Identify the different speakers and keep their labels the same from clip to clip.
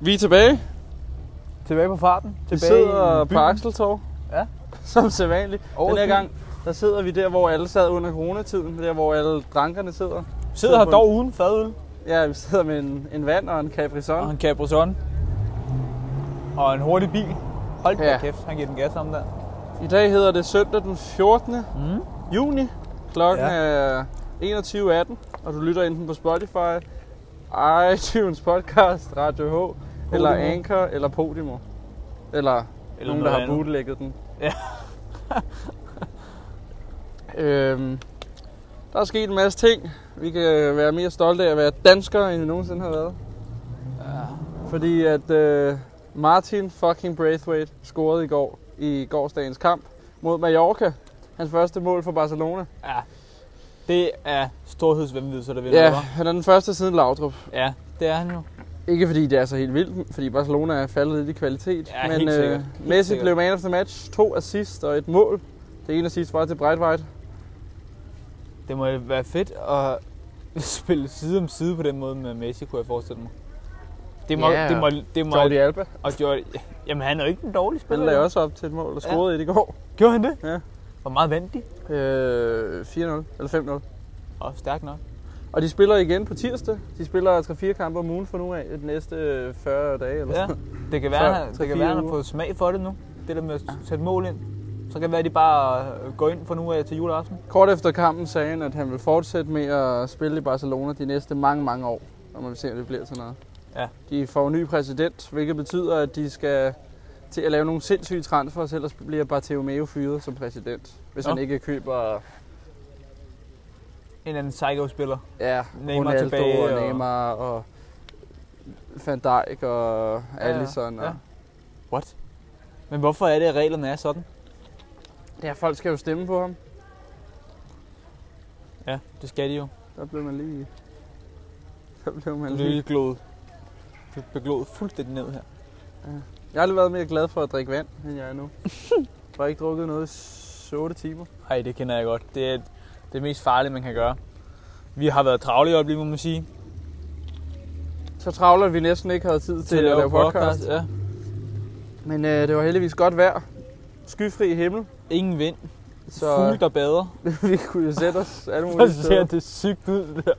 Speaker 1: Vi er tilbage.
Speaker 2: Tilbage på farten.
Speaker 1: Vi
Speaker 2: Tilbage
Speaker 1: sidder
Speaker 2: i
Speaker 1: på
Speaker 2: byen.
Speaker 1: Akseltorv.
Speaker 2: Ja.
Speaker 1: Som sædvanligt. Den
Speaker 2: Aarhus
Speaker 1: her
Speaker 2: by.
Speaker 1: gang, der sidder vi der, hvor alle sad under coronatiden. Der, hvor alle drankerne sidder.
Speaker 2: Sidder her dog uden fadøl.
Speaker 1: Ja, vi sidder med en, en vand og en Capri
Speaker 2: Og
Speaker 1: Sun.
Speaker 2: en Cabrizon. Og en hurtig bil. Hold da
Speaker 1: Ja.
Speaker 2: ja. kæft, han giver den gas om der.
Speaker 1: I dag hedder det søndag den 14.
Speaker 2: Mm.
Speaker 1: juni. Klokken
Speaker 2: Ja.
Speaker 1: er 21.18, og du lytter enten på Spotify, iTunes Podcast, Radio H, eller
Speaker 2: Podimo.
Speaker 1: Anchor, eller Podimo. Eller, eller nogen, der
Speaker 2: noget
Speaker 1: har
Speaker 2: andet.
Speaker 1: bootlegget den.
Speaker 2: Ja.
Speaker 1: øhm, der er sket en masse ting. Vi kan være mere stolte af at være danskere, end vi nogensinde har været. Fordi at øh, Martin fucking Braithwaite scorede i går i gårsdagens kamp mod Mallorca. Hans første mål for Barcelona.
Speaker 2: Ja. Det er storhedsvemmelighed, så der vinder
Speaker 1: Ja,
Speaker 2: hva'?
Speaker 1: han er den første siden Laudrup.
Speaker 2: ja, det er han jo.
Speaker 1: Ikke fordi det er så helt vildt, fordi Barcelona er faldet lidt i kvalitet.
Speaker 2: Ja,
Speaker 1: men øh,
Speaker 2: helt sikkert. Helt
Speaker 1: Messi
Speaker 2: sikkert.
Speaker 1: blev man of the match. To assist og et mål. Det ene assist var til Breitweit.
Speaker 2: Det må være fedt at spille side om side på den måde med Messi, kunne jeg forestille mig. Det må,
Speaker 1: Ja.
Speaker 2: det må, det må,
Speaker 1: Jordi Alba.
Speaker 2: og Jordi, jamen han er jo ikke en dårlig
Speaker 1: Han
Speaker 2: spiller.
Speaker 1: lagde
Speaker 2: jo.
Speaker 1: også op til et mål og scorede ja. et i går.
Speaker 2: Gjorde han det?
Speaker 1: Ja.
Speaker 2: Hvor meget vandt de?
Speaker 1: Øh, 4-0 eller 5-0.
Speaker 2: Og stærkt nok.
Speaker 1: Og de spiller igen på tirsdag. De spiller 3-4 kampe om ugen fra nu af de næste øh, 40 dage. Eller
Speaker 2: Ja,
Speaker 1: sådan.
Speaker 2: det kan
Speaker 1: Så
Speaker 2: være, han,
Speaker 1: tre,
Speaker 2: det kan
Speaker 1: fire
Speaker 2: være, han har
Speaker 1: uger.
Speaker 2: fået smag for det nu. Det der med at sætte mål ind. Så kan det være, at de bare øh, går ind for nu af til juleaften.
Speaker 1: Kort efter kampen sagde han, at han vil fortsætte med at spille i Barcelona de næste mange, mange år. Og man vil se, om det bliver til noget.
Speaker 2: Ja.
Speaker 1: De får en ny præsident, hvilket betyder, at de skal til at lave nogle sindssyge transfers, ellers bliver Bartomeu fyret som præsident, hvis
Speaker 2: Nå.
Speaker 1: han ikke køber
Speaker 2: En eller anden psycho-spiller.
Speaker 1: ja,
Speaker 2: Neymar
Speaker 1: Ronaldo
Speaker 2: tilbage,
Speaker 1: og
Speaker 2: og-
Speaker 1: Neymar og Van Dijk og Alisson.
Speaker 2: ja.
Speaker 1: Og...
Speaker 2: What? Men hvorfor er det, at reglerne er sådan?
Speaker 1: Ja, folk skal jo stemme på ham.
Speaker 2: Ja, det skal de jo.
Speaker 1: Der blev man lige... Der blev man
Speaker 2: Du
Speaker 1: lige...
Speaker 2: bliver glået. Du bliver glået fuldstændig ned her.
Speaker 1: Jeg har aldrig været mere glad for at drikke vand, end jeg er nu. jeg har ikke drukket noget i 8 timer.
Speaker 2: Ej, det kender jeg godt. Det er det mest farlige, man kan gøre. Vi har været travle i øjeblikket, må man sige.
Speaker 1: Så travlt, at vi næsten ikke havde tid til at lave podcast. podcast.
Speaker 2: Ja.
Speaker 1: Men øh, det var heldigvis godt vejr. Skyfri himmel.
Speaker 2: Ingen vind. Så...
Speaker 1: Så øh,
Speaker 2: Fugle, der bader.
Speaker 1: vi kunne jo sætte os alle
Speaker 2: Så
Speaker 1: mulige
Speaker 2: ser
Speaker 1: steder.
Speaker 2: det sygt ud, det der.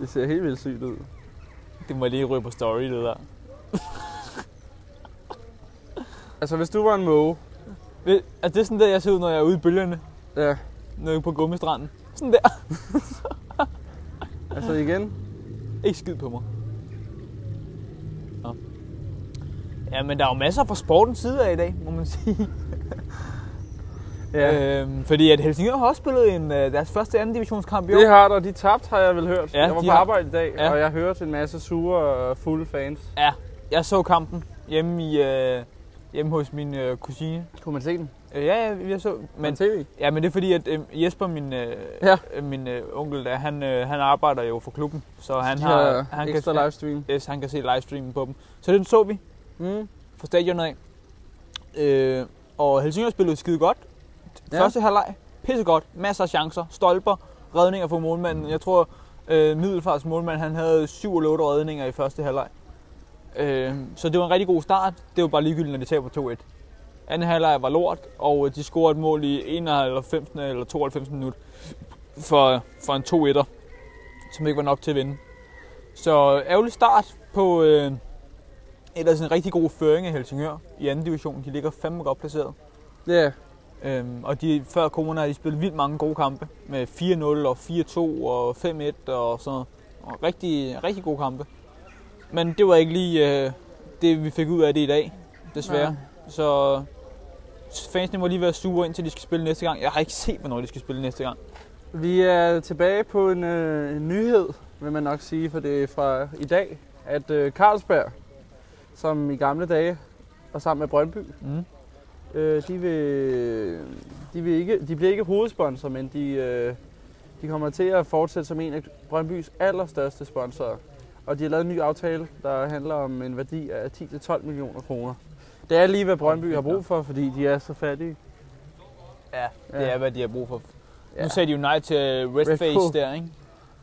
Speaker 1: Det ser helt vildt sygt ud.
Speaker 2: Det må jeg lige ryge på story, det der.
Speaker 1: Altså, hvis du var en måge,
Speaker 2: Ved- Altså, det er sådan der, jeg ser ud, når jeg er ude i bølgerne.
Speaker 1: ja,
Speaker 2: Nede på gummistranden. Sådan der.
Speaker 1: altså igen,
Speaker 2: Ikke skid på mig. Nå. Ja, men der er jo masser fra sportens side af i dag, må man sige.
Speaker 1: ja.
Speaker 2: Øhm, fordi at Helsingør har også spillet en, øh, deres første anden divisionskamp i år.
Speaker 1: Det har der, de tabt, har jeg vel hørt.
Speaker 2: Ja,
Speaker 1: jeg var
Speaker 2: de
Speaker 1: på
Speaker 2: har-
Speaker 1: arbejde i dag,
Speaker 2: Ja.
Speaker 1: og jeg hørte en masse sure og fulde fans.
Speaker 2: Ja, jeg så kampen hjemme, i, øh, hjemme hos min øh, kusine.
Speaker 1: Kunne man se den?
Speaker 2: Øh, ja, ja, jeg så.
Speaker 1: Men
Speaker 2: Men,
Speaker 1: tv?
Speaker 2: ja, men det er fordi, at øh, Jesper, min, øh,
Speaker 1: Ja.
Speaker 2: øh, min øh, onkel, der, han, øh, han arbejder jo for klubben. Så han
Speaker 1: de
Speaker 2: har,
Speaker 1: har
Speaker 2: han
Speaker 1: ekstra
Speaker 2: kan,
Speaker 1: livestream.
Speaker 2: yes, han kan se livestreamen på dem. Så den så vi
Speaker 1: Mm.
Speaker 2: fra stadionet af. Øh, og Helsingør spillede skide godt.
Speaker 1: Ja.
Speaker 2: Ja. Første halvleg, pissegodt. Masser af chancer, stolper, redninger for målmanden. Jeg tror, øh, Middelfarts målmand han havde 7 eller 8 redninger i første halvleg. Øh, så det var en rigtig god start. Det var bare ligegyldigt, når de taber 2-1. Anden halvleg var lort, og øh, de scorede et mål i 91. eller 92. minut for, for en 2-1'er, som ikke var nok til at vinde. Så ærgerlig start på øh, ellers en rigtig god føring af Helsingør i anden division. De ligger fandme godt placeret.
Speaker 1: Ja,
Speaker 2: Øhm, og de, før corona har de spillet vildt mange gode kampe med 4-0 og 4-2 og 5-1 og sådan noget. Og rigtig, rigtig gode kampe. Men det var ikke lige øh, det, vi fik ud af det i dag, desværre. Så fansene må lige være sure, indtil de skal spille næste gang. Jeg har ikke set, hvornår de skal spille næste gang.
Speaker 1: Vi er tilbage på en, øh, en nyhed, vil man nok sige, for det er fra i dag, at øh, Carlsberg, som i gamle dage var sammen med Brøndby,
Speaker 2: Mm.
Speaker 1: øh, de, vil, de, vil ikke, de bliver ikke hovedsponsor, men de, øh, de kommer til at fortsætte som en af Brøndbys allerstørste sponsorer. Og de har lavet en ny aftale, der handler om en værdi af 10-12 millioner kroner. Det er lige, hvad Brøndby har brug for, fordi de er så fattige.
Speaker 2: Ja, det
Speaker 1: Ja.
Speaker 2: er, hvad de har brug for. Ja.
Speaker 1: Ja.
Speaker 2: Nu sagde de jo nej til Red,
Speaker 1: Red
Speaker 2: Red Face
Speaker 1: Bull.
Speaker 2: der, ikke?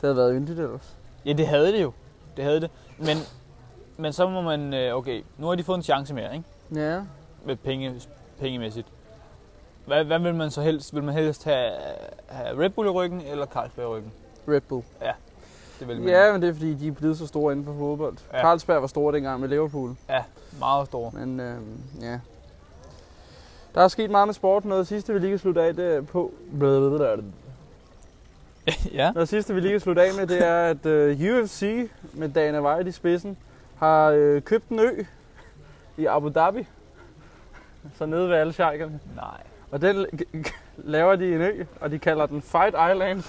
Speaker 1: Det havde været yndigt ellers.
Speaker 2: Ja, det havde det jo. Det havde det. Men Men så må man, øh, okay, nu har de fået en chance mere, ikke?
Speaker 1: Ja.
Speaker 2: Med penge, pengemæssigt. Hvad, hvad vil man så helst? Vil man helst have, have Red Bull i ryggen eller Carlsberg i ryggen?
Speaker 1: Red Bull.
Speaker 2: Det vil man
Speaker 1: Ja, men det er fordi, de er blevet så store inden for fodbold.
Speaker 2: Ja.
Speaker 1: Ja. Carlsberg var store dengang med Liverpool.
Speaker 2: meget store.
Speaker 1: Men øh, ja. Der er sket meget med sporten. Noget af det sidste, vi lige kan slutte af det er på.
Speaker 2: ja.
Speaker 1: Noget af det sidste, vi lige kan slutte af med, det er, at øh, UFC med Dana White i spidsen har øh, købt en ø i Abu Dhabi. Så nede ved alle sharkerne.
Speaker 2: Nej.
Speaker 1: Og den laver de en ø, og de kalder den Fight Island.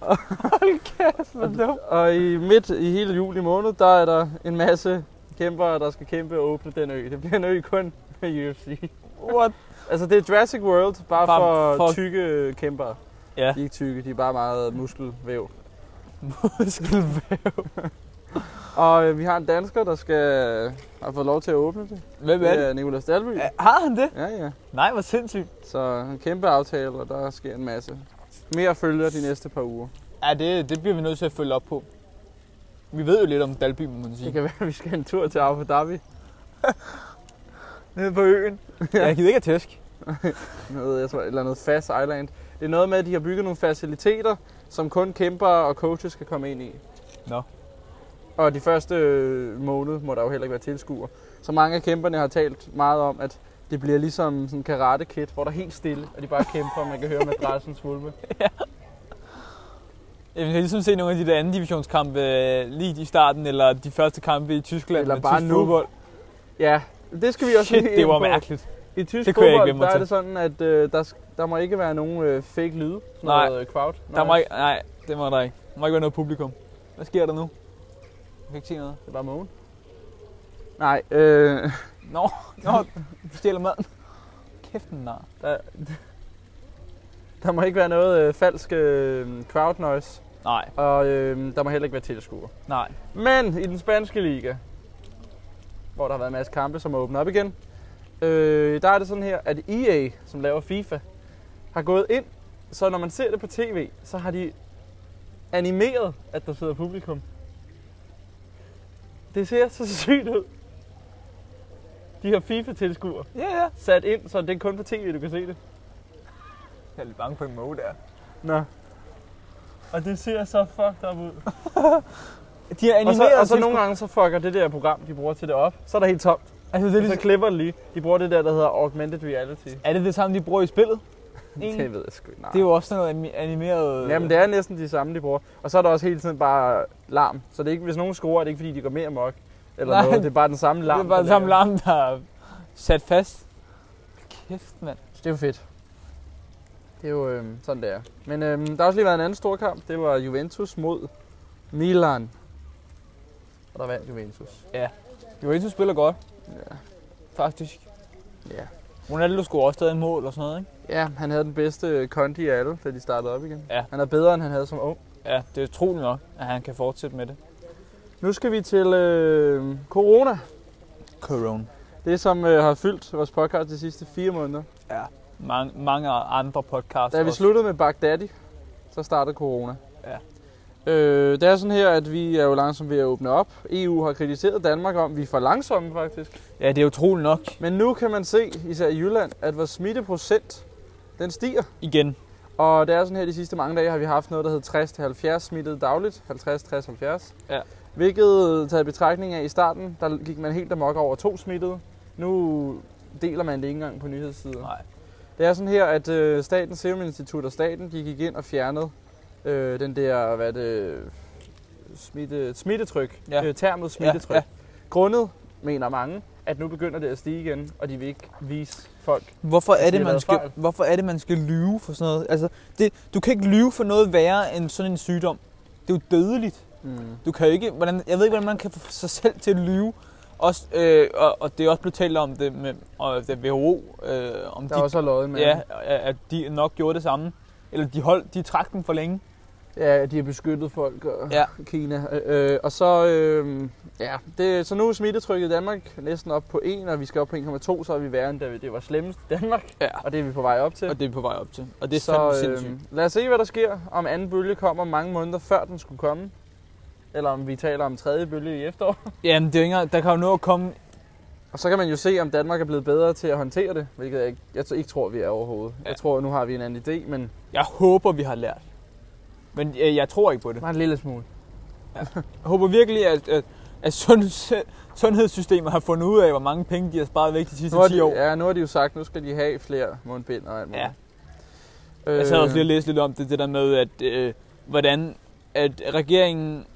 Speaker 2: Hold kæft, hvor
Speaker 1: Og, og i midt i hele juli måned, der er der en masse kæmpere, der skal kæmpe og åbne den ø. Det bliver en ø kun med UFC.
Speaker 2: What?
Speaker 1: Altså det er Jurassic World, bare,
Speaker 2: Bare
Speaker 1: for,
Speaker 2: for-
Speaker 1: for tykke kæmpere.
Speaker 2: Ja.
Speaker 1: De er ikke tykke, de er bare meget muskelvæv.
Speaker 2: Muskelvæv.
Speaker 1: Og øh, vi har en dansker, der skal har fået lov til at åbne det.
Speaker 2: Hvem er
Speaker 1: det
Speaker 2: det?
Speaker 1: er Nicolas Dalby.
Speaker 2: Ja. Har han det?
Speaker 1: Ja, ja.
Speaker 2: Nej, hvor sindssygt.
Speaker 1: Så en kæmpe aftale, og der sker en masse. Mere følger de næste par uger.
Speaker 2: Ja, det, det bliver vi nødt til at følge op på. Vi ved jo lidt om Dalby, må man
Speaker 1: Det
Speaker 2: sige.
Speaker 1: kan være, at vi skal en tur til Abu Dhabi.
Speaker 2: Nede på øen. ja. Jeg gider ikke at tæsk.
Speaker 1: noget, jeg tror, et eller andet Fast Island. Det er noget med, at de har bygget nogle faciliteter, som kun kæmpere og coaches kan komme ind i.
Speaker 2: Nå.
Speaker 1: Og de første øh, måned må der jo heller ikke være tilskuer. Så mange af kæmperne har talt meget om, at det bliver ligesom sådan en karate kid, hvor der er helt stille, og de bare kæmper, og man kan høre madrassen svulme.
Speaker 2: Jeg vil ligesom se nogle af de der anden divisionskampe øh, lige i starten, eller de første kampe i Tyskland
Speaker 1: Eller
Speaker 2: med
Speaker 1: bare
Speaker 2: tysk
Speaker 1: nu.
Speaker 2: fodbold.
Speaker 1: Ja, det skal vi også
Speaker 2: Shit,
Speaker 1: lige
Speaker 2: det
Speaker 1: ind
Speaker 2: var
Speaker 1: på.
Speaker 2: mærkeligt.
Speaker 1: I tysk
Speaker 2: Det
Speaker 1: det
Speaker 2: kunne jeg ikke
Speaker 1: fodbold, ikke
Speaker 2: vende mig
Speaker 1: der er
Speaker 2: til.
Speaker 1: det sådan, at øh, der, sk- der må ikke være nogen øh, fake lyde. Sådan
Speaker 2: Nej.
Speaker 1: Noget, øh, crowd.
Speaker 2: Der må ikke, nej, det må der ikke. Der må ikke være noget publikum. Hvad sker der nu? Jeg kan ikke se noget.
Speaker 1: Det er bare mågen. Nej, øh,
Speaker 2: Nå, nå, du stjæler maden. Kæft, den nar.
Speaker 1: Der, der må ikke være noget øh, falsk øh, crowd noise,
Speaker 2: Nej,
Speaker 1: og øh, der må heller ikke være tilskuere.
Speaker 2: nej.
Speaker 1: Men i den spanske liga, hvor der har været en masse kampe, som er åbnet op igen, øh, der er det sådan her, at EA, som laver FIFA, har gået ind, så når man ser det på tv, så har de animeret, at der sidder publikum. Det ser så sygt ud. De har FIFA-tilskuere
Speaker 2: Ja, ja.
Speaker 1: sat ind, så det er kun på tv, du kan se det.
Speaker 2: Jeg er lidt bange for en måge der.
Speaker 1: Nå. Og det ser så fucked up ud.
Speaker 2: De har animeret
Speaker 1: Og så, og så
Speaker 2: til-
Speaker 1: nogle gange så fucker det der program, de bruger til det op. Så er der helt tomt.
Speaker 2: Altså, det er,
Speaker 1: Og så
Speaker 2: ligesom,
Speaker 1: klipper de lige. De bruger det der, der hedder augmented reality.
Speaker 2: er det det samme, de bruger i spillet? Egentlig?
Speaker 1: ved jeg sgu ikke.
Speaker 2: Det er jo også sådan noget ani- animeret...
Speaker 1: Jamen det er næsten de samme, de bruger. Og så er der også hele tiden bare larm. Så det er ikke, hvis nogen scorer, er det ikke fordi, de går mere mok. Eller
Speaker 2: Nej.
Speaker 1: Nej. noget. Det er bare den samme larm.
Speaker 2: det er bare
Speaker 1: der
Speaker 2: samme
Speaker 1: laver.
Speaker 2: larm, der er sat fast. Kæft, mand.
Speaker 1: Det er jo fedt. Det er jo øhm, sådan, det er. Men øhm, der har også lige været en anden stor kamp. Det var Juventus mod Milan. Og der vandt Juventus.
Speaker 2: Juventus spiller godt,
Speaker 1: Ja.
Speaker 2: faktisk.
Speaker 1: Ja.
Speaker 2: Ronaldo skulle også stadig en mål og sådan noget, ikke?
Speaker 1: Ja, han havde den bedste øh, kondi af alle, da de startede op igen.
Speaker 2: Ja.
Speaker 1: Han er bedre, end han havde som ung.
Speaker 2: Ja, det er utroligt nok, at han kan fortsætte med det.
Speaker 1: Nu skal vi til øh, corona.
Speaker 2: Corona.
Speaker 1: Det, som øh, har fyldt vores podcast de sidste fire måneder.
Speaker 2: Mange, mange andre podcasts
Speaker 1: Da vi
Speaker 2: Altså også.
Speaker 1: sluttede med Bagdaddy, så startede corona.
Speaker 2: Ja.
Speaker 1: Øh, det er sådan her, at vi er jo langsomt ved at åbne op. EU har kritiseret Danmark om, at vi er for langsomme faktisk.
Speaker 2: Ja, det er utroligt nok.
Speaker 1: Men nu kan man se, især i Jylland, at vores smitteprocent, den stiger.
Speaker 2: Igen.
Speaker 1: Og det er sådan her, de sidste mange dage har vi haft noget, der hedder 60-70 smittede dagligt. 50-60-70.
Speaker 2: Ja.
Speaker 1: Hvilket taget i betragtning af i starten, der gik man helt amok over to smittede. Nu deler man det ikke engang på nyhedssider.
Speaker 2: Nej.
Speaker 1: Det er sådan her, at øh, Statens Serum Institut og staten, de gik ind og fjernede øh, den der, hvad er det, smitte, smittetryk,
Speaker 2: Ja.
Speaker 1: ja. øh, termet smittetryk. Ja, ja. Grundet, mener mange, at nu begynder det at stige igen, og de vil ikke vise folk.
Speaker 2: Hvorfor
Speaker 1: At
Speaker 2: er,
Speaker 1: vi
Speaker 2: det,
Speaker 1: har
Speaker 2: man
Speaker 1: lavet
Speaker 2: skal,
Speaker 1: fejl.
Speaker 2: hvorfor er det, man skal lyve for sådan noget? Altså, det, du kan ikke lyve for noget værre end sådan en sygdom. Det er jo dødeligt.
Speaker 1: Mm.
Speaker 2: Du kan jo ikke, hvordan, jeg ved ikke, hvordan man kan få sig selv til at lyve. Også, øh, og, og, det er også blevet talt om det med og det WHO, øh, om
Speaker 1: Der
Speaker 2: de,
Speaker 1: er også løjet med,
Speaker 2: ja, at de nok gjorde det samme. Eller de, holdt, de trak den for længe.
Speaker 1: ja, de har beskyttet folk og
Speaker 2: Ja.
Speaker 1: ja. Kina. Øh, øh, og så, øh, ja, det, så nu er smittetrykket i Danmark næsten op på 1, og vi skal op på 1,2, så er vi værre end da vi- det var slemmest i Danmark,
Speaker 2: Ja.
Speaker 1: og det er vi på vej op til.
Speaker 2: Og det er vi på vej op til. Og det er
Speaker 1: øhm,
Speaker 2: så, øhm, fandme sindssygt.
Speaker 1: lad os se, hvad der sker, om anden bølge kommer mange måneder før den skulle komme. eller om vi taler om tredje bølge i efterår.
Speaker 2: Jamen, det er jo ikke, engang- der kan jo nå at komme...
Speaker 1: Og så kan man jo se, om Danmark er blevet bedre til at håndtere det, hvilket jeg, ikke- jeg så ikke tror, vi er overhovedet. Ja.
Speaker 2: Ja.
Speaker 1: Jeg tror, nu har vi en anden idé, men
Speaker 2: Jeg håber, vi har lært. Men øh, jeg, jeg tror ikke på det.
Speaker 1: bare en lille smule.
Speaker 2: Jeg håber virkelig, at, at, at sundheds, sundhedssystemet har fundet ud af, hvor mange penge de har sparet væk de sidste
Speaker 1: Nu har,
Speaker 2: 10 år.
Speaker 1: de, ja, nu har de jo sagt, nu skal de have flere mundbind og alt muligt.
Speaker 2: Ja.
Speaker 1: Øh,
Speaker 2: Jeg sad også lige og læste lidt om det, det der med, at øh, hvordan at regeringen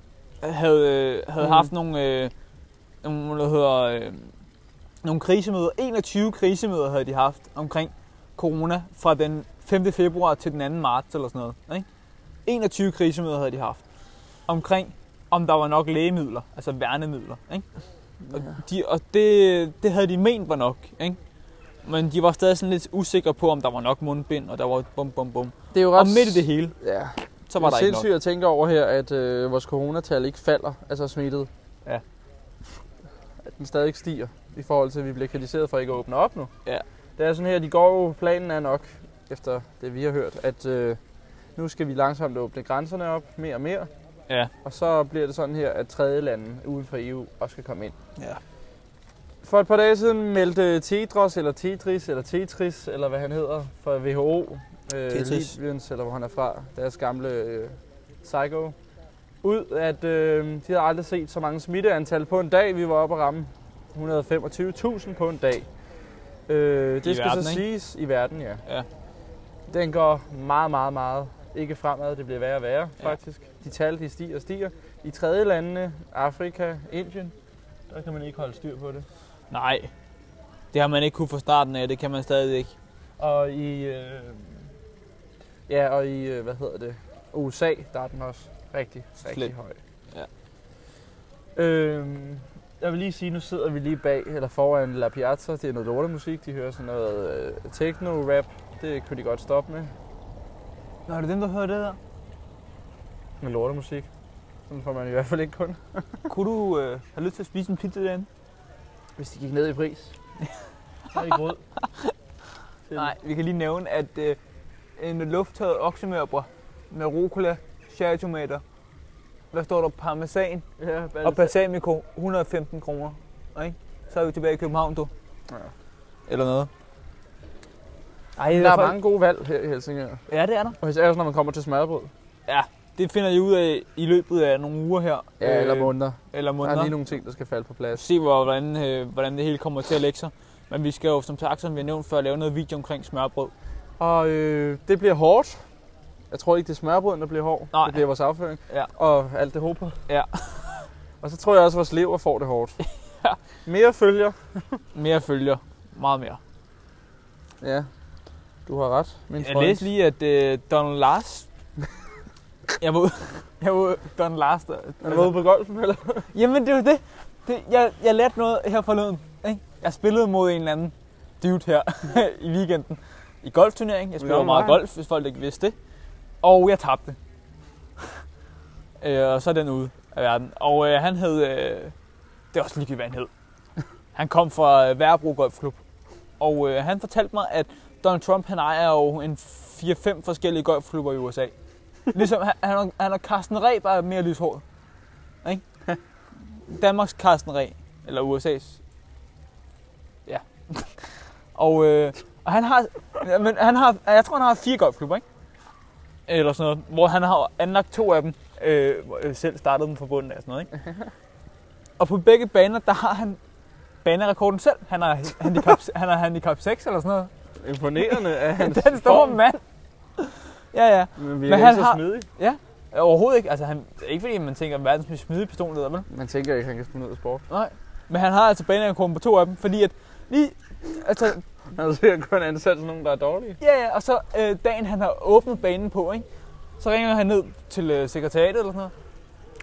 Speaker 2: havde, øh, havde
Speaker 1: Mhm.
Speaker 2: mm. haft nogle, øh, nogle, hvad hedder, øh, nogle krisemøder. 21 krisemøder havde de haft omkring corona fra den 5. februar til den 2. marts eller sådan noget. Ikke? 21 krisemøder havde de haft omkring, om der var nok lægemidler, altså værnemidler. Ikke? Og, de, og det, det havde de ment var nok, ikke? Men de var stadig sådan lidt usikre på, om der var nok mundbind, og der var bum bum bum.
Speaker 1: Det er jo ret...
Speaker 2: Og midt i det hele,
Speaker 1: Ja,
Speaker 2: så var der ikke nok.
Speaker 1: sindssygt at tænke over her, at øh, vores coronatal ikke falder, altså smittet.
Speaker 2: Ja.
Speaker 1: At den stadig ikke stiger, i forhold til, at vi bliver kritiseret for ikke at åbne op nu.
Speaker 2: Ja.
Speaker 1: Det er sådan her, de går jo, planen er nok, efter det vi har hørt, at øh, nu skal vi langsomt åbne grænserne op, mere og mere.
Speaker 2: Ja.
Speaker 1: Og så bliver det sådan her, at tredje lande uden for EU også skal komme ind.
Speaker 2: Ja.
Speaker 1: For et par dage siden meldte Tedros, eller Tetris, eller Tetris, eller hvad han hedder, fra WHO, øh,
Speaker 2: Tetris.
Speaker 1: Libyens, eller hvor han er fra, deres gamle øh, psycho, ud, at øh, de havde aldrig set så mange smitteantal på en dag. Vi var oppe at ramme 125.000 på en dag. Øh, det
Speaker 2: I
Speaker 1: skal
Speaker 2: verden,
Speaker 1: så
Speaker 2: ikke?
Speaker 1: siges i verden, ja.
Speaker 2: Ja.
Speaker 1: Den går meget, meget, meget ikke fremad. Det bliver værre og værre,
Speaker 2: Ja.
Speaker 1: faktisk. De tal, de stiger og stiger. I tredje landene, Afrika, Indien, der kan man ikke holde styr på det.
Speaker 2: Nej, det har man ikke kunne fra starten af, det kan man stadig ikke.
Speaker 1: Og i... Øh, ja, og i, øh, hvad hedder det, USA, der er den også rigtig, rigtig
Speaker 2: Slet.
Speaker 1: høj.
Speaker 2: Ja.
Speaker 1: Øhm, jeg vil lige sige, nu sidder vi lige bag, eller foran La Piazza. Det er noget lortemusik, de hører sådan noget øh, techno-rap. Det kunne de godt stoppe med.
Speaker 2: Nå, er det dem, der hører det der?
Speaker 1: Med lortemusik. Sådan får man i hvert fald ikke kun.
Speaker 2: Kunne du øh, have lyst til at spise en pizza derinde?
Speaker 1: Hvis de gik ned i pris. Så er ikke råd. til
Speaker 2: Nej, Øhm, vi kan lige nævne, at øh, en lufttørret oksemørbrød med rucola, cherrytomater, hvad står der, parmesan
Speaker 1: det. Ja,
Speaker 2: og balsamico, 115 kroner. Ikke? Så er vi tilbage i København, du.
Speaker 1: Ja.
Speaker 2: Eller noget. Ej,
Speaker 1: der er mange gode valg her i Helsingør.
Speaker 2: Ja, det er der.
Speaker 1: Og især også, når man kommer til smadbrød.
Speaker 2: Det finder I ud af i løbet af nogle uger her.
Speaker 1: Ja, øh, eller måneder. Der
Speaker 2: Eller
Speaker 1: er
Speaker 2: måneder.
Speaker 1: lige nogle ting, der skal falde på plads.
Speaker 2: Se, hvor- hvordan, øh, hvordan det hele kommer til at lægge sig. Men vi skal jo, som sagt, som vi har nævnt før, lave noget video omkring smørbrød.
Speaker 1: Og øh, det bliver hårdt. Jeg tror ikke, det er smørbrøden, der bliver hård.
Speaker 2: Nej.
Speaker 1: Det bliver vores afføring.
Speaker 2: Ja.
Speaker 1: Og alt det håber.
Speaker 2: Ja.
Speaker 1: og så tror jeg også, at vores lever får det hårdt. Mere følger.
Speaker 2: Mere følger. Meget mere.
Speaker 1: Ja, du har ret. Min
Speaker 2: Jeg
Speaker 1: freund.
Speaker 2: læste lige, at øh, Donald Lars... jeg var ude... Jeg var ude... Donald Lars... Der,
Speaker 1: Er du ude på golfen, eller?
Speaker 2: Jamen, det var det. det jeg, jeg lærte noget her forleden. Ikke? Jeg spillede mod en eller anden dude her i weekenden. I golfturnering. Jeg spiller
Speaker 1: Nå,
Speaker 2: jo meget
Speaker 1: nej.
Speaker 2: golf, hvis folk ikke vidste det. Og jeg tabte. øh, og så er den ude af verden. Og øh, han hed... Øh, det er også ligegyldigt, hvad han hed. Han kom fra øh, Værebro Golfklub. Og øh, han fortalte mig, at Donald Trump han ejer jo en 4-5 forskellige golfklubber i USA. Ligesom han, han, og- han og Carsten Reh bare mere lyshåret. Ikke? Danmarks Carsten Reh, eller USA's. Ja. og, øh, og han har, ja, men han har, jeg tror han har fire golfklubber, ikke? Eller sådan noget, hvor han har anlagt to af dem, øh, hvor- øh, selv startede dem fra bunden af sådan noget, ikke? Og på begge baner, der har han banerekorden selv. Han har handicap, han har handicap 6 eller sådan noget.
Speaker 1: Imponerende af hans
Speaker 2: Den store
Speaker 1: form.
Speaker 2: mand. Ja, ja.
Speaker 1: Men,
Speaker 2: Men han
Speaker 1: han så
Speaker 2: har-
Speaker 1: smidig.
Speaker 2: Overhovedet ikke. Altså, han, det er ikke fordi, man tænker, at verdens mest smidige personlighed, vel?
Speaker 1: Man tænker ikke, han kan spille ud af sport.
Speaker 2: Nej. Men han har altså banerekorden på to af dem, fordi at lige... Altså,
Speaker 1: Han har sikkert kun ansat sådan nogen, der er dårlige.
Speaker 2: ja, ja, og så øh, dagen, han har åbnet banen på, ikke? Så ringer han ned til øh, sekretariatet eller sådan noget,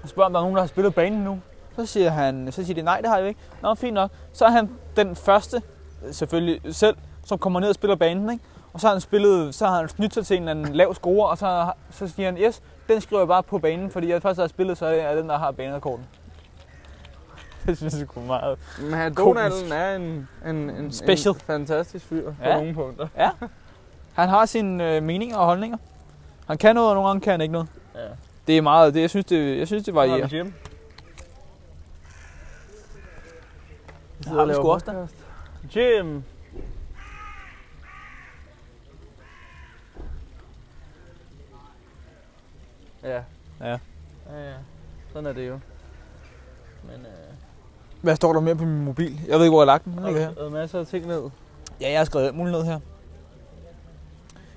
Speaker 2: og spørger, om der er nogen, der har spillet banen nu. Så siger han, så siger de, nej, det har jeg ikke. Nå, fint nok. Så er han den første, øh, selvfølgelig selv, som kommer ned og spiller banen, ikke? Og så har han spillet, så har han snydt sig til en eller anden lav score, og så, har- så siger han, yes, den skriver jeg bare på banen, fordi jeg først har spillet, så er jeg den, der har banerekorden. Det synes jeg sgu meget.
Speaker 1: Men han-
Speaker 2: Komisk.
Speaker 1: Donalden er en, en, en,
Speaker 2: Special.
Speaker 1: en fantastisk fyr på
Speaker 2: Ja.
Speaker 1: nogle punkter.
Speaker 2: Han har sine øh, meninger og holdninger. Han kan noget, og nogle gange kan han ikke noget.
Speaker 1: Ja.
Speaker 2: Det er meget, det, jeg synes, det, jeg synes, det varierer.
Speaker 3: Anders hjem.
Speaker 1: Vi
Speaker 2: har vi sgu også da.
Speaker 1: Jim. Ja,
Speaker 3: Ja, ja.
Speaker 1: sådan er det jo.
Speaker 3: Men øh,
Speaker 2: Hvad står der mere på min mobil? Jeg ved ikke, hvor jeg har lagt den. Den
Speaker 1: Der
Speaker 2: ligger her.
Speaker 1: er taget masser af ting ned.
Speaker 2: Ja, jeg har skrevet alt muligt ned her.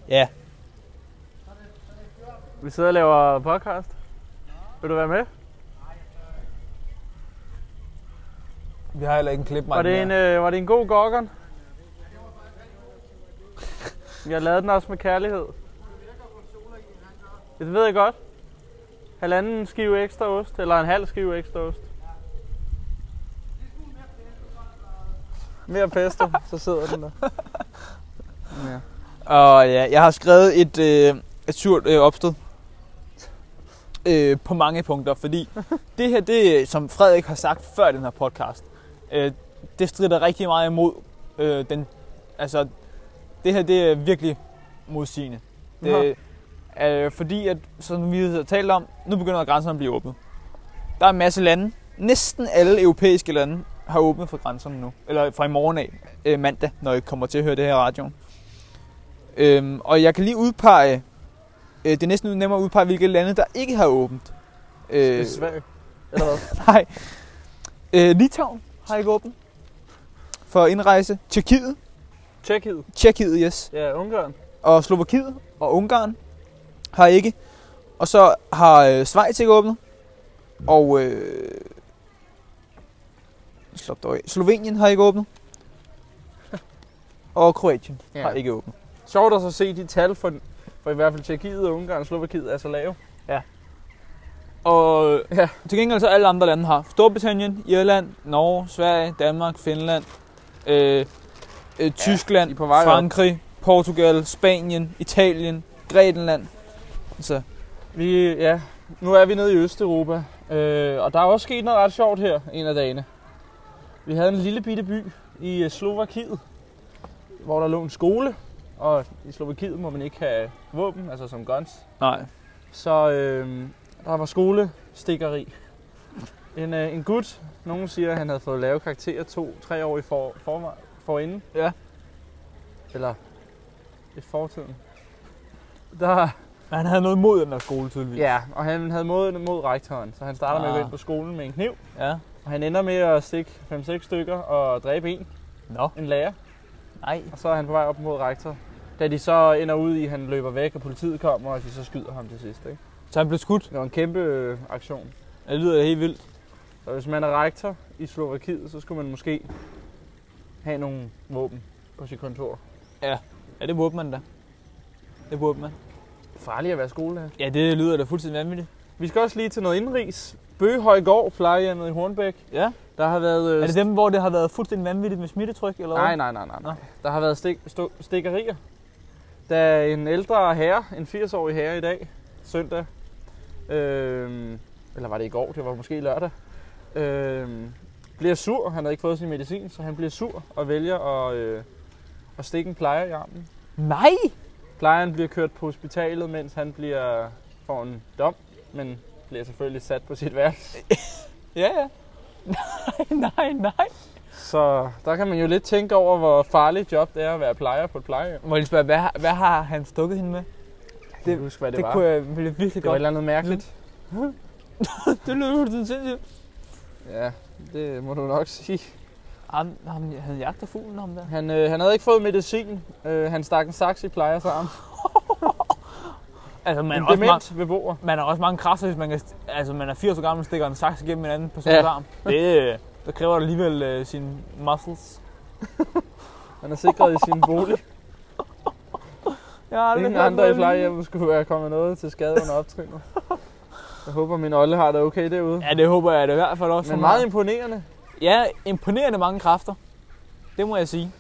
Speaker 2: Ja.
Speaker 1: Vi sidder og laver podcast. Vil du være med?
Speaker 2: Vi har heller ikke en klip,
Speaker 1: Var det, en, øh, var det en god gokkeren? Jeg lavede den også med kærlighed. Ja, Det ved jeg godt. Halvanden skive ekstra ost, eller en halv skive ekstra ost. Mere pesto, så sidder den der. Ja.
Speaker 2: Og ja, jeg har skrevet et, øh, et surt øh, opsted. Øh, på mange punkter, fordi det her, det øh, som Frederik har sagt før i den her podcast, øh, det strider rigtig meget imod øh, den, altså, det her, det er virkelig modsigende. Det, øh, fordi, at, som vi har talt om, nu begynder grænserne at blive åbnet. Der er en masse lande, næsten alle europæiske lande, har åbnet for grænserne nu, eller fra i morgen af, øh, mandag, når I kommer til at høre det her i radioen. Øhm, og jeg kan lige udpege, øh, det er næsten nemmere at udpege, hvilke lande, der ikke har åbent.
Speaker 1: Det er
Speaker 2: Øh,
Speaker 1: svært. Eller hvad?
Speaker 2: nej. Øh, Litauen har ikke åbent for indrejse. Tjekkiet,
Speaker 1: Tjekkiet.
Speaker 2: Tjekkiet, yes.
Speaker 1: Ja, Ungarn.
Speaker 2: Og Slovakiet og Ungarn har ikke. Og så har øh, Schweiz ikke åbnet. Og øh, slap dog af. Slovenien har ikke åbnet. Og Kroatien ja.
Speaker 1: Ja.
Speaker 2: har ikke åbnet.
Speaker 1: Sjovt at så se de tal for, for i hvert fald Tjekkiet og Ungarn og Slovakiet er så lave.
Speaker 2: Og
Speaker 1: Ja.
Speaker 2: til gengæld så alle andre lande har. Storbritannien, Irland, Norge, Sverige, Danmark, Finland, øh, øh, Tyskland,
Speaker 1: de
Speaker 2: ja,
Speaker 1: er på vej op.
Speaker 2: Frankrig, Portugal, Spanien, Italien, Grækenland. Altså, Så
Speaker 1: Vi, ja, nu er vi nede i Østeuropa, øh, og der er også sket noget ret sjovt her en af dagene. Vi havde en lille bitte by i øh, Slovakiet, hvor der lå en skole, og i Slovakiet må man ikke have våben, altså som guns.
Speaker 2: nej.
Speaker 1: Så øh, der var skolestikkeri. En, øh, en gut, nogen siger, at han havde fået lave karakterer to-tre år i for, for, forinden.
Speaker 2: Ja.
Speaker 1: Eller i fortiden. Der,
Speaker 2: Men han havde noget mod den der skole tydeligvis.
Speaker 1: Ja, og han havde mod mod rektoren, så han starter med at gå
Speaker 2: Ah.
Speaker 1: ind på skolen med en kniv,
Speaker 2: ja.
Speaker 1: og han ender med at stikke 5-6 stykker og dræbe en,
Speaker 2: Nå,
Speaker 1: en lærer,
Speaker 2: nej.
Speaker 1: og så er han på vej op mod rektor. Da de så ender ud i, at han løber væk, og politiet kommer, og de så skyder ham til sidst. Ikke?
Speaker 2: Så han blev skudt.
Speaker 1: Det var en kæmpe øh, aktion.
Speaker 2: Det lyder helt vildt.
Speaker 1: Så hvis man er rektor i Slovakiet, så skulle man måske have nogle våben på sit kontor.
Speaker 2: Ja, det burde man da. Det burde man.
Speaker 1: Farligt at være skolelærer.
Speaker 2: Ja, det lyder da fuldstændig vanvittigt.
Speaker 1: Vi skal også lige til noget indrigs. Bøgehøjgård, plejehjemmet i Hornbæk.
Speaker 2: Ja.
Speaker 1: Der har været... øh,
Speaker 2: Er det dem, hvor det har været fuldstændig vanvittigt med smittetryk? Eller
Speaker 1: Nej, nej, nej, nej.
Speaker 2: Nå.
Speaker 1: nej. Der har været stik, sto, stikkerier. Da en ældre herre, en 80-årig herre i dag, søndag, øh, eller var det i går, det var måske lørdag, øh, bliver sur, han havde ikke fået sin medicin, så han bliver sur og vælger at, øh, at stikke en plejer i armen.
Speaker 2: Nej!
Speaker 1: Plejeren bliver kørt på hospitalet, mens han bliver, får en dom, men bliver selvfølgelig sat på sit værelse.
Speaker 2: Ja, ja. Nej, nej, nej.
Speaker 1: Så der kan man jo lidt tænke over, hvor farligt job det er at være plejer på et plejehjem.
Speaker 2: Må jeg lige spørge, hvad, har- hvad har han stukket hende med?
Speaker 1: Jeg kan ikke huske, hvad det,
Speaker 2: Det
Speaker 1: var.
Speaker 2: kunne jeg ville jeg
Speaker 1: det
Speaker 2: virkelig
Speaker 1: var et
Speaker 2: godt.
Speaker 1: eller andet mærkeligt.
Speaker 2: det lød fuldstændig sindssygt.
Speaker 1: Ja, det må du nok sige.
Speaker 2: Ham, ham, han jagter fuglen ham der.
Speaker 1: Han, øh, han havde ikke fået medicin. Øh, han stak en saks i plejers arm.
Speaker 2: Altså, man
Speaker 1: en
Speaker 2: er, også mange,
Speaker 1: dement ved bord.
Speaker 2: man er også mange kræfter, hvis man, kan, st- altså, man er 80 år gammel og stikker en saks igennem en anden persons
Speaker 1: Ja.
Speaker 2: arm. Det, øh, der kræver du alligevel øh, sine muscles.
Speaker 1: Han er sikret i sin bolig.
Speaker 2: Jeg har
Speaker 1: Ingen andre i plejehjemmet skulle være kommet noget til skade under optrinet. Jeg håber, min olle har det okay derude.
Speaker 2: Ja, det håber jeg da i hvert fald også.
Speaker 1: Men
Speaker 2: for
Speaker 1: meget
Speaker 2: mig.
Speaker 1: imponerende.
Speaker 2: Ja, imponerende mange kræfter. Det må jeg sige.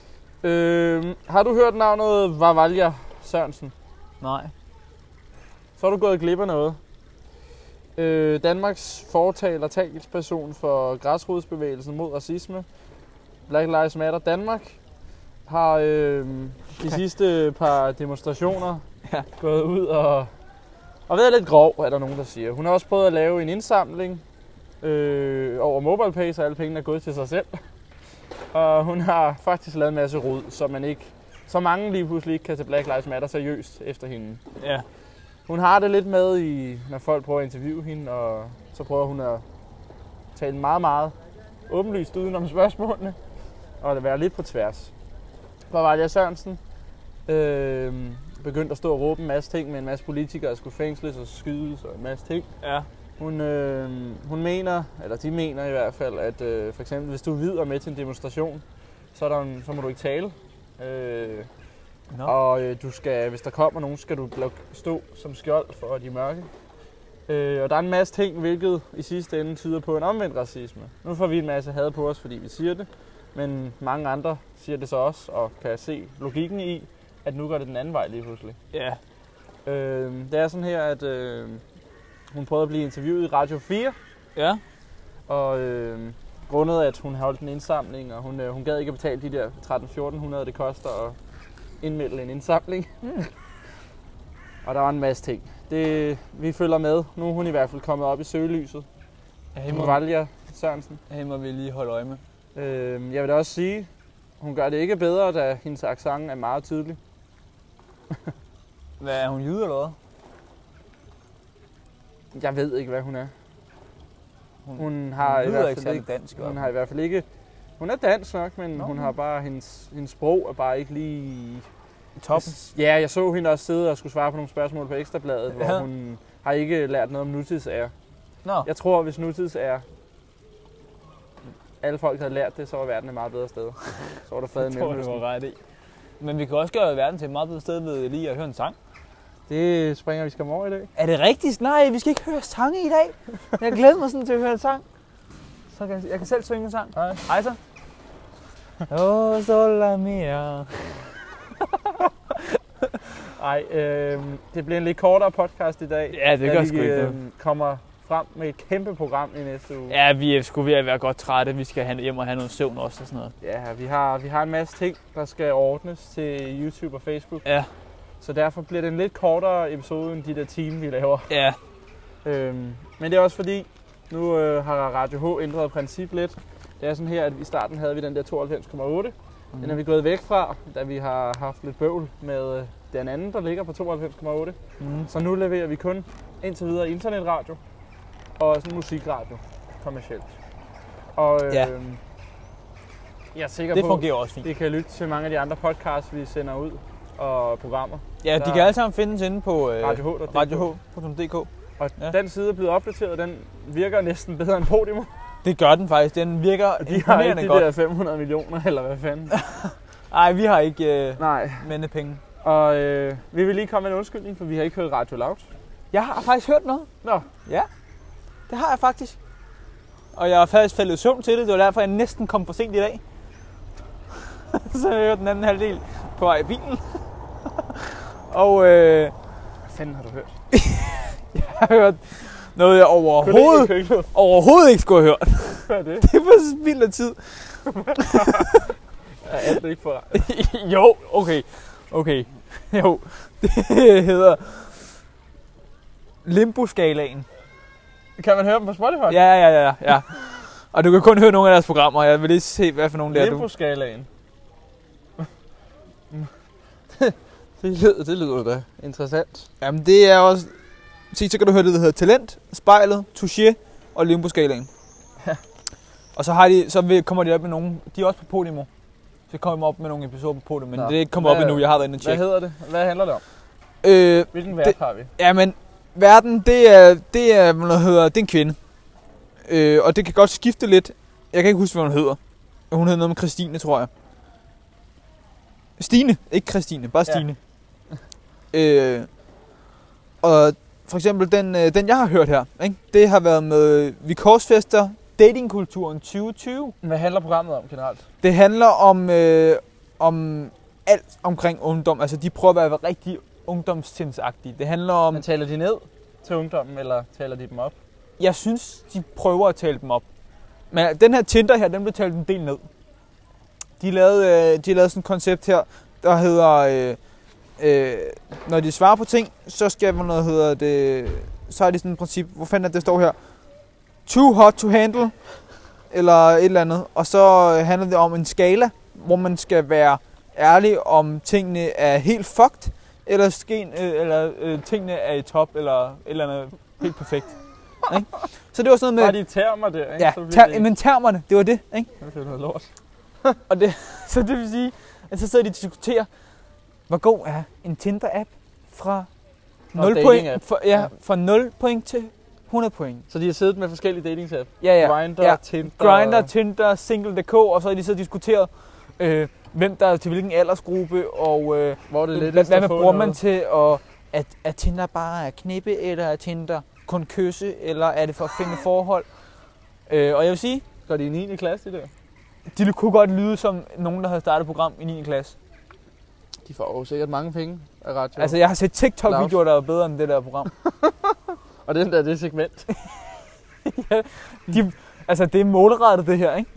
Speaker 1: Øh, har du hørt navnet Vavalja Sørensen?
Speaker 2: Nej.
Speaker 1: Så har du gået glip af noget. Øh, Danmarks fortaler talsperson for græsrodsbevægelsen mod racisme, Black Lives Matter Danmark, har øh, de sidste par demonstrationer
Speaker 2: Ja.
Speaker 1: gået ud og Og været lidt grov, er der nogen, der siger. Hun har også prøvet at lave en indsamling øh, over MobilePay, så alle pengene er gået til sig selv. Og hun har faktisk lavet en masse rod, så man ikke så mange lige pludselig ikke kan tage Black Lives Matter seriøst efter hende.
Speaker 2: Ja.
Speaker 1: Hun har det lidt med, i, når folk prøver at interviewe hende, og så prøver hun at tale meget, meget åbenlyst udenom spørgsmålene, og at være lidt på tværs. Bavaria Sørensen øh, begyndte at stå og råbe en masse ting med en masse politikere, der skulle fængsles og skydes og en masse ting.
Speaker 2: Ja.
Speaker 1: Hun, øh, hun mener, eller de mener i hvert fald, at øh, for eksempel, hvis du er hvid og med til en demonstration, så, er der en, så må du ikke tale. Øh,
Speaker 2: Nå.
Speaker 1: og øh, du skal, hvis der kommer nogen, skal du blok- stå som skjold for de mørke. Øh, og der er en masse ting, hvilket i sidste ende tyder på en omvendt racisme. Nu får vi en masse had på os, fordi vi siger det. Men mange andre siger det så også, og kan se logikken i, at nu går det den anden vej lige pludselig.
Speaker 2: Ja.
Speaker 1: Øh, det er sådan her, at øh, hun prøvede at blive interviewet i Radio 4,
Speaker 2: Ja.
Speaker 1: og øh, grundet at hun holdt en indsamling, og hun, øh, hun gad ikke at betale de der 13-1400, det koster at indmelde en indsamling. Mm. og der var en masse ting. Det, vi følger med. Nu er hun i hvert fald kommet op i søgelyset.
Speaker 2: Ja,
Speaker 1: Hun Valja Sørensen.
Speaker 2: hende må vi lige holde øje med.
Speaker 1: Øh, jeg vil da også sige, hun gør det ikke bedre, da hendes accent er meget tydelig.
Speaker 2: Hvad er hun jyde eller hvad?
Speaker 1: Jeg ved ikke, hvad hun er.
Speaker 2: Hun-
Speaker 1: Hun har i
Speaker 2: lyder
Speaker 1: hvert
Speaker 2: ikke
Speaker 1: fald
Speaker 2: særlig
Speaker 1: ikke
Speaker 2: dansk.
Speaker 1: Hun har i hvert fald ikke... Hun er dansk nok, men
Speaker 2: Nå.
Speaker 1: Nå, hun har bare... Hendes, hendes sprog er bare ikke lige...
Speaker 2: top.
Speaker 1: Ja, jeg så hende også sidde og skulle svare på nogle spørgsmål på Ekstrabladet, ja.
Speaker 2: Ja.
Speaker 1: hvor hun har ikke lært noget om nutidsager.
Speaker 2: Nå.
Speaker 1: Jeg tror, hvis nutidsager... Alle folk havde lært det, så var verden et meget bedre sted. Så var der fred i
Speaker 2: Det tror jeg, du
Speaker 1: Mellemøsten.
Speaker 2: var ret i. Men vi kan også gøre verden til et meget bedre sted ved lige at høre en sang.
Speaker 1: Det springer vi skam over i dag.
Speaker 2: Er det rigtigt? Nej, vi skal ikke høre sange i dag. Jeg glæder mig sådan til at høre en sang. Så kan jeg, jeg kan selv synge en sang.
Speaker 1: Nej.
Speaker 2: Hej så. Oh, sola mia.
Speaker 1: Ej, øh, det bliver en lidt kortere podcast i dag.
Speaker 2: Ja, det
Speaker 1: da
Speaker 2: gør
Speaker 1: vi, øhm,
Speaker 2: sgu ikke noget.
Speaker 1: kommer frem med et kæmpe program i næste uge.
Speaker 2: Ja, vi er sgu ved at være godt trætte. Vi skal have- hjem og have noget søvn også og sådan noget.
Speaker 1: Ja, vi har, vi har en masse ting, der skal ordnes til YouTube og Facebook.
Speaker 2: Ja.
Speaker 1: Så derfor bliver det en lidt kortere episode end de der timer, vi laver.
Speaker 2: Ja,
Speaker 1: Øhm, men det er også fordi, nu øh, har Radio H ændret princip lidt. Det er sådan her, at i starten havde vi den der 92,8.
Speaker 2: Mhm.
Speaker 1: Mm. Den er vi gået væk fra, da vi har haft lidt bøvl med øh, den anden, der ligger på 92,8.
Speaker 2: Mm.
Speaker 1: Så nu leverer vi kun indtil videre internetradio og sådan musikradio kommercielt. Og øh,
Speaker 2: Ja.
Speaker 1: jeg er sikker
Speaker 2: det
Speaker 1: på,
Speaker 2: fungerer også fint.
Speaker 1: de kan lytte til mange af de andre podcasts, vi sender ud og programmer.
Speaker 2: Ja, de
Speaker 1: der-
Speaker 2: kan alle sammen findes inde på øh,
Speaker 1: Radio H.
Speaker 2: radioh.dk.
Speaker 1: Og
Speaker 2: Ja.
Speaker 1: ja. den side er blevet opdateret, den virker næsten bedre end Podimo.
Speaker 2: Det gør den faktisk. Den virker
Speaker 1: De har ikke
Speaker 2: imponerende
Speaker 1: de
Speaker 2: godt.
Speaker 1: der 500 millioner, eller hvad fanden.
Speaker 2: Nej, vi har ikke øh,
Speaker 1: Nej.
Speaker 2: mandepenge.
Speaker 1: Og øh, vi vil lige komme med en undskyldning, for vi har ikke hørt Radio Loud.
Speaker 2: Jeg har faktisk hørt noget.
Speaker 1: Nå.
Speaker 2: Ja, det har jeg faktisk. Og jeg har faktisk faldet i søvn til det. Det var derfor, jeg næsten kom for sent i dag. så jeg hørte den anden halvdel på vej i bilen. og øh,
Speaker 1: Hvad fanden har du hørt?
Speaker 2: jeg har hørt noget, jeg overhovedet,
Speaker 1: Køkkenet.
Speaker 2: overhovedet ikke skulle have hørt.
Speaker 1: Hvad er det?
Speaker 2: Det var spild af tid.
Speaker 1: Er alt ikke for...
Speaker 2: jo, okay. Okay. Jo. Det hedder Limbo-skalaen.
Speaker 1: Kan man høre dem på Spotify?
Speaker 2: Ja, ja, ja, ja. Og du kan kun høre nogle af deres programmer. Jeg vil lige se, hvad for nogle det er, du...
Speaker 1: Limbo-skalaen. det, lyder, det lyder da interessant.
Speaker 2: Jamen, det er også... Se, så kan du høre det, der hedder Talent, Spejlet, Touché og Limbo-skalaen. Og så, har de, så vil- kommer de op med nogle... De er også på Podimo. Så kommer de op med nogle episoder på Podimo, men
Speaker 1: Nå.
Speaker 2: det er ikke kommet op
Speaker 1: Hvad-
Speaker 2: endnu. Jeg har været inde og
Speaker 1: Hvad
Speaker 2: tjekke.
Speaker 1: hedder det? Hvad handler det om?
Speaker 2: Øh,
Speaker 1: Hvilken vært
Speaker 2: Det-
Speaker 1: har vi?
Speaker 2: Ja, men verden, det er, det er, hvad der hedder, det er en kvinde. Øh, og det kan godt skifte lidt. Jeg kan ikke huske, hvad hun hedder. Hun hedder noget med Christine, tror jeg. Stine, ikke Christine, bare
Speaker 1: Ja.
Speaker 2: Stine. øh, og for eksempel den, øh, den, jeg har hørt her, ikke? det har været med øh, Vi Korsfester, Datingkulturen 2020.
Speaker 1: Hvad handler programmet om generelt?
Speaker 2: Det handler om, øh, om alt omkring ungdom. Altså, de prøver at være rigtig ungdomstsindsagtige. Det handler om...
Speaker 1: Men taler de ned til ungdommen, eller taler de dem op?
Speaker 2: jeg synes, de prøver at tale dem op. Men den her Tinder her, den blev talt en del ned. De lavede, øh, de lavede sådan et koncept her, der hedder øh, øh, når de svarer på ting, så skal man noget, hedder det, så er det sådan et princip, hvor fanden er det, det står her, too hot to handle, eller et eller andet, og så øh, handler det om en skala, hvor man skal være ærlig om tingene er helt fucked, eller, sken, øh, eller øh, tingene er i top, eller et eller andet helt perfekt. ikke? Så det var sådan
Speaker 1: Bare
Speaker 2: noget med,
Speaker 1: de termer der, ikke?
Speaker 2: ja,
Speaker 1: så bliver
Speaker 2: ter,
Speaker 1: det,
Speaker 2: men termerne, det var det, ikke?
Speaker 1: så bliver det noget lort.
Speaker 2: Og det, så det vil sige, at så sidder de og diskuterer, hvor god er en Tinder-app fra
Speaker 1: Nå,
Speaker 2: 0
Speaker 1: dating-app.
Speaker 2: point, for, ja,
Speaker 1: Ja.
Speaker 2: fra 0 point til 100 point.
Speaker 1: Så de har siddet med forskellige datings apps.
Speaker 2: Ja, ja.
Speaker 1: Grindr,
Speaker 2: ja.
Speaker 1: Tinder.
Speaker 2: Grindr, Tinder, Single.dk, og så har de så diskuteret, øh, hvem der er til hvilken aldersgruppe, og øh,
Speaker 1: Hvor er det
Speaker 2: hvad,
Speaker 1: lettest
Speaker 2: hvad man
Speaker 1: at få
Speaker 2: bruger man
Speaker 1: noget.
Speaker 2: til, og at, er Tinder bare at knippe, eller er Tinder kun kysse, eller er det for at finde forhold? Øh, og jeg vil sige,
Speaker 1: Går de i 9. klasse, det der?
Speaker 2: de kunne godt lyde som nogen, der havde startet et program i 9. klasse.
Speaker 1: De får jo sikkert mange penge af radio.
Speaker 2: Altså, jeg har set TikTok-videoer, der er bedre end det der program.
Speaker 1: Og den der, det er segment.
Speaker 2: De, altså, det er målrettet, det her, ikke?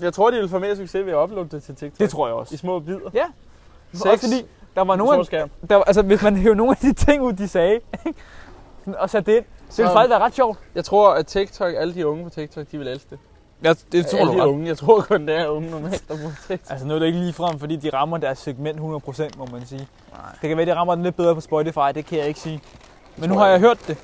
Speaker 1: Jeg tror, de vil få mere succes ved at uploade det til TikTok.
Speaker 2: Det tror jeg
Speaker 1: I
Speaker 2: også.
Speaker 1: små bidder.
Speaker 2: Ja.
Speaker 1: Sex.
Speaker 2: Også fordi, der var
Speaker 1: Nogen...
Speaker 2: nogen, der, var- altså, hvis man hæver nogle af de ting ud, de sagde, ikke? Sådan, og satte det ind, så ville
Speaker 1: Så-
Speaker 2: det faktisk være ret sjovt.
Speaker 1: Jeg tror, at TikTok, alle de unge på TikTok, de vil elske det.
Speaker 2: Ja, det
Speaker 1: alle de unge. Jeg tror kun, det er unge normalt, der bruger TikTok.
Speaker 2: Altså, nu er det ikke ligefrem, fordi de rammer deres segment 100%, må man sige.
Speaker 1: Nej.
Speaker 2: Det kan være, de rammer den lidt bedre på Spotify, det kan jeg ikke sige. Men nu
Speaker 1: tror
Speaker 2: har
Speaker 1: jeg
Speaker 2: jeg hørt det.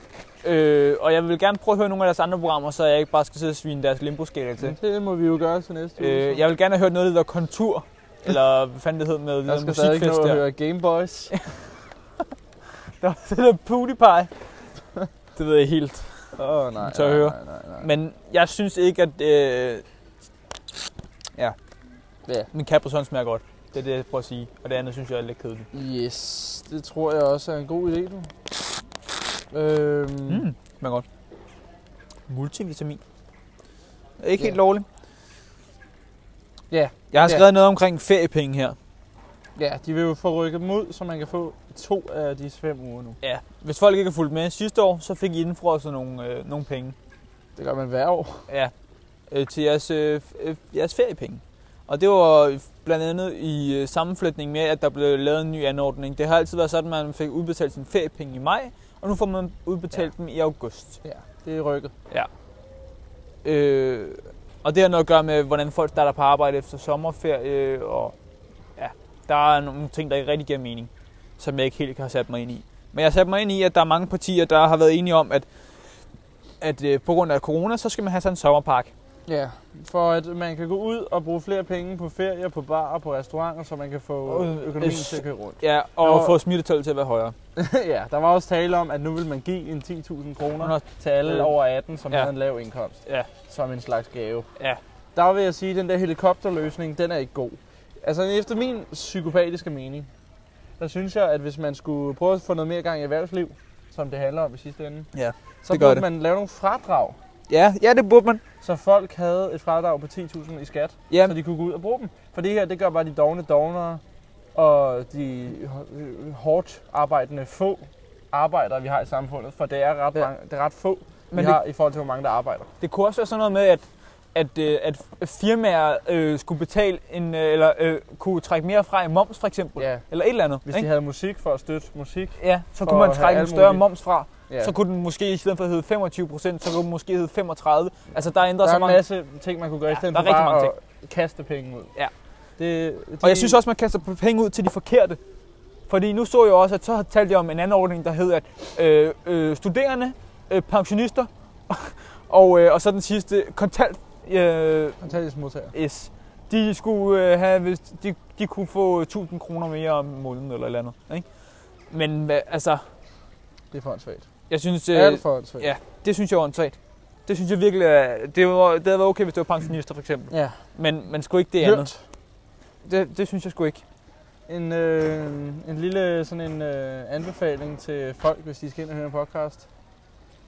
Speaker 2: Øh, og jeg vil gerne prøve at høre nogle af deres andre programmer, så jeg ikke bare skal sidde og svine deres limbo-skala til.
Speaker 1: Men Det må vi jo gøre til næste uge.
Speaker 2: Øh, jeg vil gerne have hørt noget, der hedder Kontur, eller hvad fanden det hed med det
Speaker 1: jeg
Speaker 2: der
Speaker 1: skal stadig
Speaker 2: musikfest
Speaker 1: nå at
Speaker 2: der.
Speaker 1: høre Game Boys.
Speaker 2: Der var det der PewDiePie. Det ved jeg helt.
Speaker 1: Åh, oh, nej,
Speaker 2: Tør
Speaker 1: nej,
Speaker 2: høre.
Speaker 1: nej, nej, nej.
Speaker 2: Men jeg synes ikke, at... Øh... Ja.
Speaker 1: Ja.
Speaker 2: Min Capri Sun smager godt. Det er det, jeg prøver at sige. Og det andet synes jeg er lidt kedeligt.
Speaker 1: Yes, det tror jeg også er en god idé, du. Øhm, mm.
Speaker 2: Mm, smager godt. Multivitamin. Ikke
Speaker 1: Ja.
Speaker 2: helt lovligt.
Speaker 1: Ja,
Speaker 2: Jeg har
Speaker 1: ja.
Speaker 2: skrevet noget omkring feriepenge her.
Speaker 1: Ja, de vil jo få rykket dem ud, så man kan få to af de fem uger nu.
Speaker 2: Ja. Hvis folk ikke har fulgt med sidste år, så fik I indfrosset nogle, øh, nogle penge.
Speaker 1: Det gør man hver år.
Speaker 2: Ja, øh, til jeres, øh, f- øh, jeres feriepenge. Og det var blandt andet i øh, sammenflytning med, at der blev lavet en ny anordning. Det har altid været sådan, at man fik udbetalt sine feriepenge i maj, og nu får man udbetalt ja. dem i august.
Speaker 1: Ja, det er rykket.
Speaker 2: Øh, og det har noget at gøre med, hvordan folk starter på arbejde efter sommerferie, og ja, der er nogle ting, der ikke rigtig giver mening, som jeg ikke helt har sat mig ind i. Men jeg har sat mig ind i, at der er mange partier, der har været enige om, at, at øh, på grund af corona, så skal man have sådan en sommerpakke.
Speaker 1: Ja, for at man kan gå ud og bruge flere penge på ferie, på bar og på restauranter, så man kan få
Speaker 2: Øh,
Speaker 1: økonomien
Speaker 2: øh,
Speaker 1: til at køre rundt.
Speaker 2: Ja, og
Speaker 1: Nå.
Speaker 2: få smittetallet til at være højere.
Speaker 1: ja, der var også tale om, at nu vil man give en 10.000 kroner
Speaker 2: Nå,
Speaker 1: til alle
Speaker 2: øh,
Speaker 1: over 18, som
Speaker 2: ja.
Speaker 1: havde en lav indkomst.
Speaker 2: Ja.
Speaker 1: Som en slags gave.
Speaker 2: Ja.
Speaker 1: Der vil jeg sige, at den der helikopterløsning, den er ikke god. Altså efter min psykopatiske mening, der synes jeg, at hvis man skulle prøve at få noget mere gang i erhvervsliv, som det handler om i sidste ende,
Speaker 2: Ja,
Speaker 1: så
Speaker 2: det gør
Speaker 1: burde
Speaker 2: det.
Speaker 1: man lave nogle fradrag,
Speaker 2: Ja, ja det burde man.
Speaker 1: så folk havde et fradrag på 10.000 i skat,
Speaker 2: Ja,
Speaker 1: så de kunne gå ud og bruge dem. For det her, det gør bare de dogne dognere og de h- hårdt arbejdende få arbejdere, vi har i samfundet. For det er ret,
Speaker 2: Ja.
Speaker 1: mange, det er ret få, vi
Speaker 2: men det,
Speaker 1: har i forhold til, hvor mange der arbejder.
Speaker 2: det kunne også være sådan noget med, at, at, øh, at firmaer øh, skulle betale en, øh, eller øh, kunne trække mere fra i moms for eksempel,
Speaker 1: Ja.
Speaker 2: eller et eller andet.
Speaker 1: Hvis de
Speaker 2: ikke?
Speaker 1: havde musik for at støtte musik.
Speaker 2: Ja, så
Speaker 1: for
Speaker 2: kunne
Speaker 1: at
Speaker 2: man
Speaker 1: have
Speaker 2: trække en
Speaker 1: alt
Speaker 2: større
Speaker 1: muligt.
Speaker 2: moms fra.
Speaker 1: Ja.
Speaker 2: Så kunne den måske i stedet for hedde 25 procent, så kunne den måske hedde 35. Altså der ændrer
Speaker 1: der er
Speaker 2: så
Speaker 1: en
Speaker 2: mange.
Speaker 1: masse ting, man kunne gøre, ja,
Speaker 2: Ja,
Speaker 1: i stedet
Speaker 2: der
Speaker 1: for
Speaker 2: er rigtig
Speaker 1: bare
Speaker 2: mange
Speaker 1: at kaste penge ud.
Speaker 2: Ja.
Speaker 1: Det, de,
Speaker 2: Og jeg synes også, man kaster penge ud til de forkerte. Fordi nu så jeg også, at så talte jeg om en anden ordning, der hed, at øh, øh, studerende, øh, pensionister og, øh, og så den sidste, kontant, øh,
Speaker 1: Kontanthjælpsmodtagere.
Speaker 2: Yes. De skulle øh, have, hvis de, de kunne få 1000 kroner mere om måneden eller et eller andet. Ikke? Men hva- altså,
Speaker 1: Det er for åndssvagt.
Speaker 2: jeg synes,
Speaker 1: Det er
Speaker 2: øh,
Speaker 1: alt for åndssvagt.
Speaker 2: ja. det synes jeg er åndssvagt. Det synes jeg virkelig er, det, var, det havde været okay, hvis det var pensionister for eksempel.
Speaker 1: ja.
Speaker 2: Men man skulle ikke det andet.
Speaker 1: Hørt.
Speaker 2: Det, det, synes jeg sgu ikke.
Speaker 1: En, øh, en lille sådan en øh, anbefaling til folk, hvis de skal ind og høre en podcast.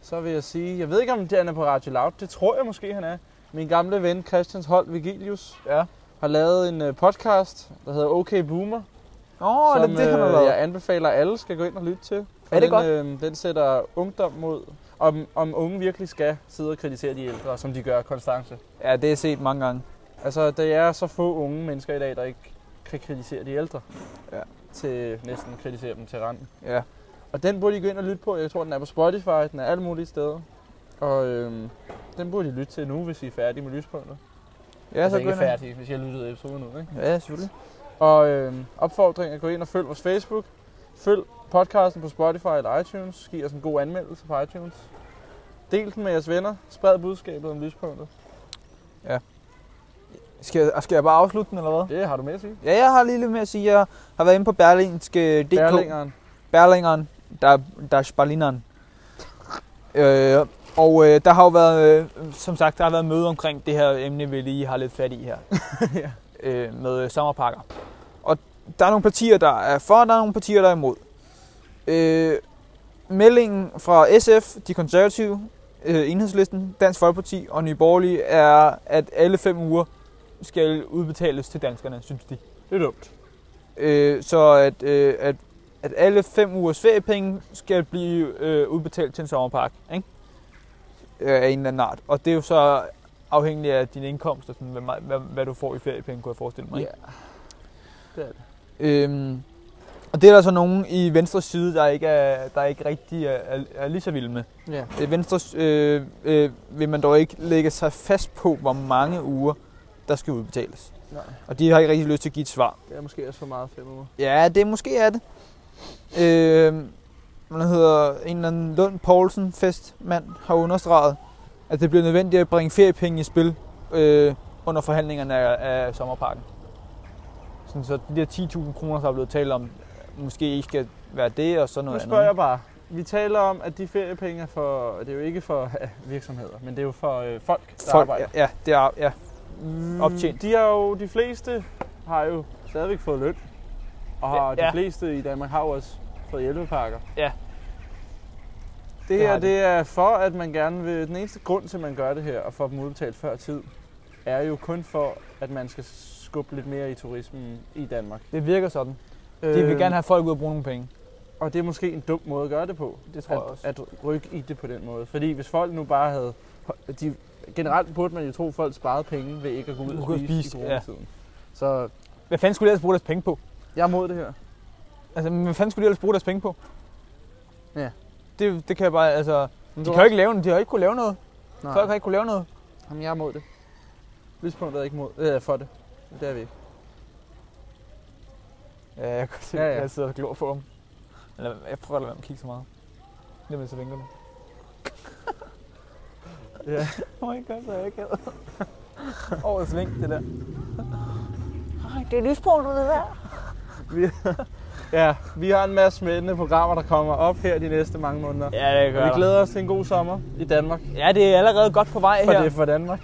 Speaker 1: Så vil jeg sige, jeg ved ikke om det han er på Radio Loud, det tror jeg måske han er. Min gamle ven Christians Holt Vigilius
Speaker 2: Ja.
Speaker 1: har lavet en øh, podcast, der hedder OK Boomer.
Speaker 2: Nå, er
Speaker 1: som
Speaker 2: det det, han har
Speaker 1: øh,
Speaker 2: lavet?
Speaker 1: jeg anbefaler, at alle skal gå ind og lytte til. For
Speaker 2: Er det
Speaker 1: den,
Speaker 2: godt?
Speaker 1: Øh, den sætter ungdom mod, om, om unge virkelig skal sidde og kritisere de ældre, som de gør konstance.
Speaker 2: Ja, det har jeg set mange gange.
Speaker 1: Altså, der er så få unge mennesker i dag, der ikke kan kritisere de ældre,
Speaker 2: Ja.
Speaker 1: til næsten kritisere dem til randen.
Speaker 2: Ja.
Speaker 1: Og den burde I gå ind og lytte på. Jeg tror, den er på Spotify, den er alle mulige steder. Og øhm, den burde I lytte til nu, hvis I er færdige med lyspunktet.
Speaker 2: Ja, så
Speaker 1: Altså, ikke
Speaker 2: begynder
Speaker 1: færdige, hvis jeg lyttede episoden ud, ikke?
Speaker 2: Ja, selvfølgelig.
Speaker 1: Og øhm, opfordring er at gå ind og følg vores Facebook. Følg podcasten på Spotify eller iTunes. Giv os en god anmeldelse på iTunes. Del den med jeres venner. Spred budskabet om lyspunktet.
Speaker 2: Skal jeg, skal jeg bare afslutte den, eller hvad?
Speaker 1: Det har du med at sige.
Speaker 2: Ja, jeg har lige lidt med at sige, jeg har været inde på berlingske.dk.
Speaker 1: Berlingeren.
Speaker 2: Berlingeren, der, der er Sparlineren. Øh, og øh, der har jo været, øh, som sagt, der har været møde omkring det her emne, vi lige har lidt fat i her.
Speaker 1: Ja.
Speaker 2: øh, med øh, sommerpakker. Og der er nogle partier, der er for, og der er nogle partier, der er imod. Øh, meldingen fra SF, de konservative, øh, Enhedslisten, Dansk Folkeparti og Nye Borgerlige er, at alle fem uger skal udbetales til danskerne, synes de.
Speaker 1: Det er dumt.
Speaker 2: Øh, så at, øh, at, at alle fem ugers feriepenge skal blive øh, udbetalt til en sommerpark, ikke? Øh, af en eller anden art. Og det er jo så afhængigt af din indkomst og sådan, hvad, meget- hvad, hvad du får i feriepenge, kunne jeg forestille mig. ikke?
Speaker 1: Det er det.
Speaker 2: Øhm, og det er der så nogen i venstre side, der ikke, er, der ikke rigtig er, er, er lige så vilde med.
Speaker 1: Ja.
Speaker 2: Øh, Venstre øh, øh, vil man dog ikke lægge sig fast på, hvor mange uger, der skal udbetales.
Speaker 1: Nej,
Speaker 2: Og de har ikke rigtig lyst til at give et svar.
Speaker 1: det er måske også for meget fem uger.
Speaker 2: Ja, det måske er det. Øh, man hedder en eller anden Lund Poulsen festmand har understreget, at det bliver nødvendigt at bringe feriepenge i spil øh, under forhandlingerne af, af sommerpakken. Sådan, så de der 10.000 kroner, der er blevet talt om, måske ikke skal være det og så
Speaker 1: Nu
Speaker 2: noget
Speaker 1: spørger jeg
Speaker 2: andet.
Speaker 1: bare. Vi taler om, at de feriepenge er for... Det er jo ikke for virksomheder, men det er jo for øh, folk, der
Speaker 2: Folk,
Speaker 1: arbejder.
Speaker 2: ja, ja, det er, ja,
Speaker 1: Mm,
Speaker 2: Optjent.
Speaker 1: De, har jo, de fleste har jo stadigvæk fået løn. Og har,
Speaker 2: Ja.
Speaker 1: de fleste i Danmark har jo også fået hjælpepakker.
Speaker 2: Ja.
Speaker 1: Det
Speaker 2: Det har
Speaker 1: her,
Speaker 2: de.
Speaker 1: det er for, at man gerne vil... Den eneste grund til, at man gør det her og får dem udbetalt før tid, er jo kun for, at man skal skubbe lidt mere i turismen i Danmark.
Speaker 2: det virker sådan. De
Speaker 1: Øh,
Speaker 2: vil gerne have folk ud og bruge nogle penge.
Speaker 1: Øhm, Og det er måske en dum måde at gøre det på.
Speaker 2: Det tror jeg
Speaker 1: at,
Speaker 2: også.
Speaker 1: At rykke i det på den måde. Fordi hvis folk nu bare havde... De, generelt burde man jo tro, at folk sparede penge ved ikke at gå ud
Speaker 2: Gå ud
Speaker 1: og
Speaker 2: og
Speaker 1: spise,
Speaker 2: spise,
Speaker 1: i
Speaker 2: ja.
Speaker 1: coronatiden. Så
Speaker 2: Hvad fanden skulle de ellers bruge deres penge på?
Speaker 1: jeg er mod det her.
Speaker 2: Altså, hvad fanden skulle de ellers bruge deres penge på?
Speaker 1: Ja.
Speaker 2: Det, det kan jeg bare, altså...
Speaker 1: Men
Speaker 2: De kan jo ikke lave, de har ikke kunne lave noget.
Speaker 1: Nej.
Speaker 2: Folk har ikke kunne lave noget.
Speaker 1: Jamen, jeg er mod det. Lyspunktet er ikke mod, øh, for det. Men Det er vi ikke.
Speaker 2: Ja, jeg kan se,
Speaker 1: Ja, ja.
Speaker 2: jeg sidder og glor på dem. Eller, jeg prøver at lade være med at kigge så meget. Jamen, så vinker du.
Speaker 1: Ja.
Speaker 2: Åh, oh, gør så jeg ikke Årets vink, det der. Ej, det er lyspunktet, det der.
Speaker 1: Ja, vi har en masse smittende programmer, der kommer op her de næste mange måneder.
Speaker 2: Ja, det
Speaker 1: Og vi glæder os til en god sommer i Danmark.
Speaker 2: Ja, det er allerede godt på vej
Speaker 1: For
Speaker 2: her.
Speaker 1: det er for Danmark.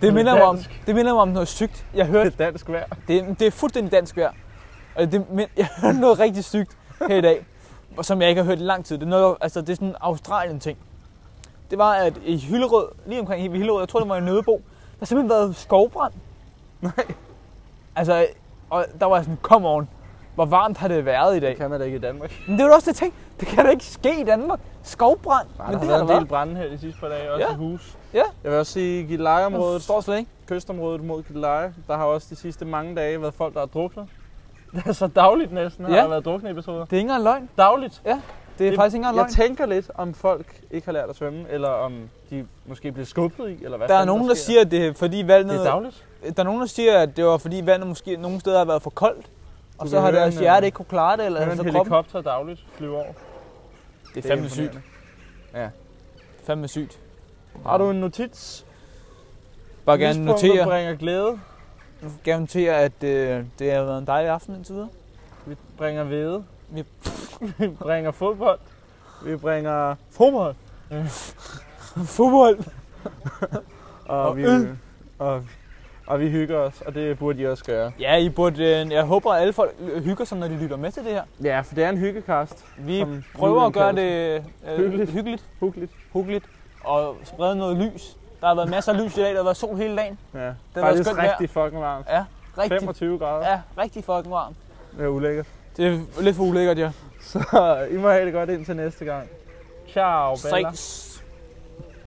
Speaker 2: det, minder mig om,
Speaker 1: Dansk.
Speaker 2: det minder mig om noget sygt. Jeg hørte
Speaker 1: Det er dansk vejr.
Speaker 2: Det, det er fuldstændig dansk vejr. Og det, men jeg hørte noget rigtig sygt her i dag, og som jeg ikke har hørt i lang tid. Det er, noget, altså, det er sådan en Australien ting. Det var, at i Hillerød, lige omkring i Hillerød, jeg tror det var i Nødebo, der har simpelthen været skovbrand.
Speaker 1: Nej.
Speaker 2: Altså, og der var jeg sådan, come on, hvor varmt har det været i
Speaker 1: Det
Speaker 2: dag?
Speaker 1: kan man da ikke i Danmark.
Speaker 2: Men det er jo også det ting, det kan da ikke ske i Danmark. Skovbrand,
Speaker 1: Nej,
Speaker 2: men
Speaker 1: der
Speaker 2: det
Speaker 1: har
Speaker 2: har
Speaker 1: været
Speaker 2: der
Speaker 1: en del
Speaker 2: været.
Speaker 1: brænde her de sidste par dage, også
Speaker 2: Ja.
Speaker 1: i hus.
Speaker 2: Ja.
Speaker 1: Jeg vil også sige, at
Speaker 2: Jeg
Speaker 1: Gillelejeområdet,
Speaker 2: forstår slet ikke.
Speaker 1: kystområdet mod Gilleleje, der har også de sidste mange dage været folk, der har druknet. så dagligt næsten har
Speaker 2: Ja.
Speaker 1: der været drukne episoder.
Speaker 2: Det er ikke engang løgn.
Speaker 1: Dagligt.
Speaker 2: Det er
Speaker 1: Det-
Speaker 2: faktisk ikke engang løgn.
Speaker 1: Jeg tænker lidt, om folk ikke har lært at svømme, eller om de måske bliver skubbet i, eller hvad
Speaker 2: Der er
Speaker 1: fanden
Speaker 2: nogen, der
Speaker 1: sker.
Speaker 2: siger, at det er fordi vandet...
Speaker 1: Det er dagligt.
Speaker 2: Øh, Der er nogen, der siger, at det var fordi vandet måske nogle steder har været for koldt, og
Speaker 1: Du
Speaker 2: så
Speaker 1: kan
Speaker 2: har
Speaker 1: høre
Speaker 2: deres
Speaker 1: en,
Speaker 2: hjerte
Speaker 1: øh,
Speaker 2: ikke kunne klare det, eller
Speaker 1: Der er en
Speaker 2: så kroppen.
Speaker 1: helikopter dagligt flyver over.
Speaker 2: Det Fandme sygt.
Speaker 1: Har du en notits?
Speaker 2: Bare gerne
Speaker 1: Lyspunktet
Speaker 2: notere,
Speaker 1: bringer glæde.
Speaker 2: gerne notere, at øh, det har været en dejlig aften indtil videre.
Speaker 1: Vi bringer hvede.
Speaker 2: Vi-
Speaker 1: Vi bringer fodbold. Vi bringer fodbold.
Speaker 2: Fodbold!
Speaker 1: Og,
Speaker 2: Og
Speaker 1: vi,
Speaker 2: øl.
Speaker 1: og, og vi hygger os, og det burde I også gøre.
Speaker 2: Ja, I burde, øh, jeg håber, at alle folk hygger sig, når de lytter med til det her.
Speaker 1: Ja, for det er en hyggekast.
Speaker 2: Vi
Speaker 1: Som
Speaker 2: prøver at
Speaker 1: Julian
Speaker 2: gøre
Speaker 1: kalder
Speaker 2: det øh,
Speaker 1: Hyggeligt.
Speaker 2: hyggeligt. hyggeligt,
Speaker 1: Hyggeligt.
Speaker 2: hyggeligt, og sprede noget lys. Der har været masser af lys i dag, der har været sol hele dagen.
Speaker 1: Ja. Det
Speaker 2: var
Speaker 1: Faktisk
Speaker 2: skønt
Speaker 1: rigtig fucking varmt.
Speaker 2: Ja, rigtig,
Speaker 1: 25 grader.
Speaker 2: ja, rigtig fucking varmt.
Speaker 1: Det er ulækkert.
Speaker 2: Det er lidt for ulækkert, ja.
Speaker 1: Så I må have det godt indtil næste gang. Ciao, Bella.
Speaker 2: Strikes.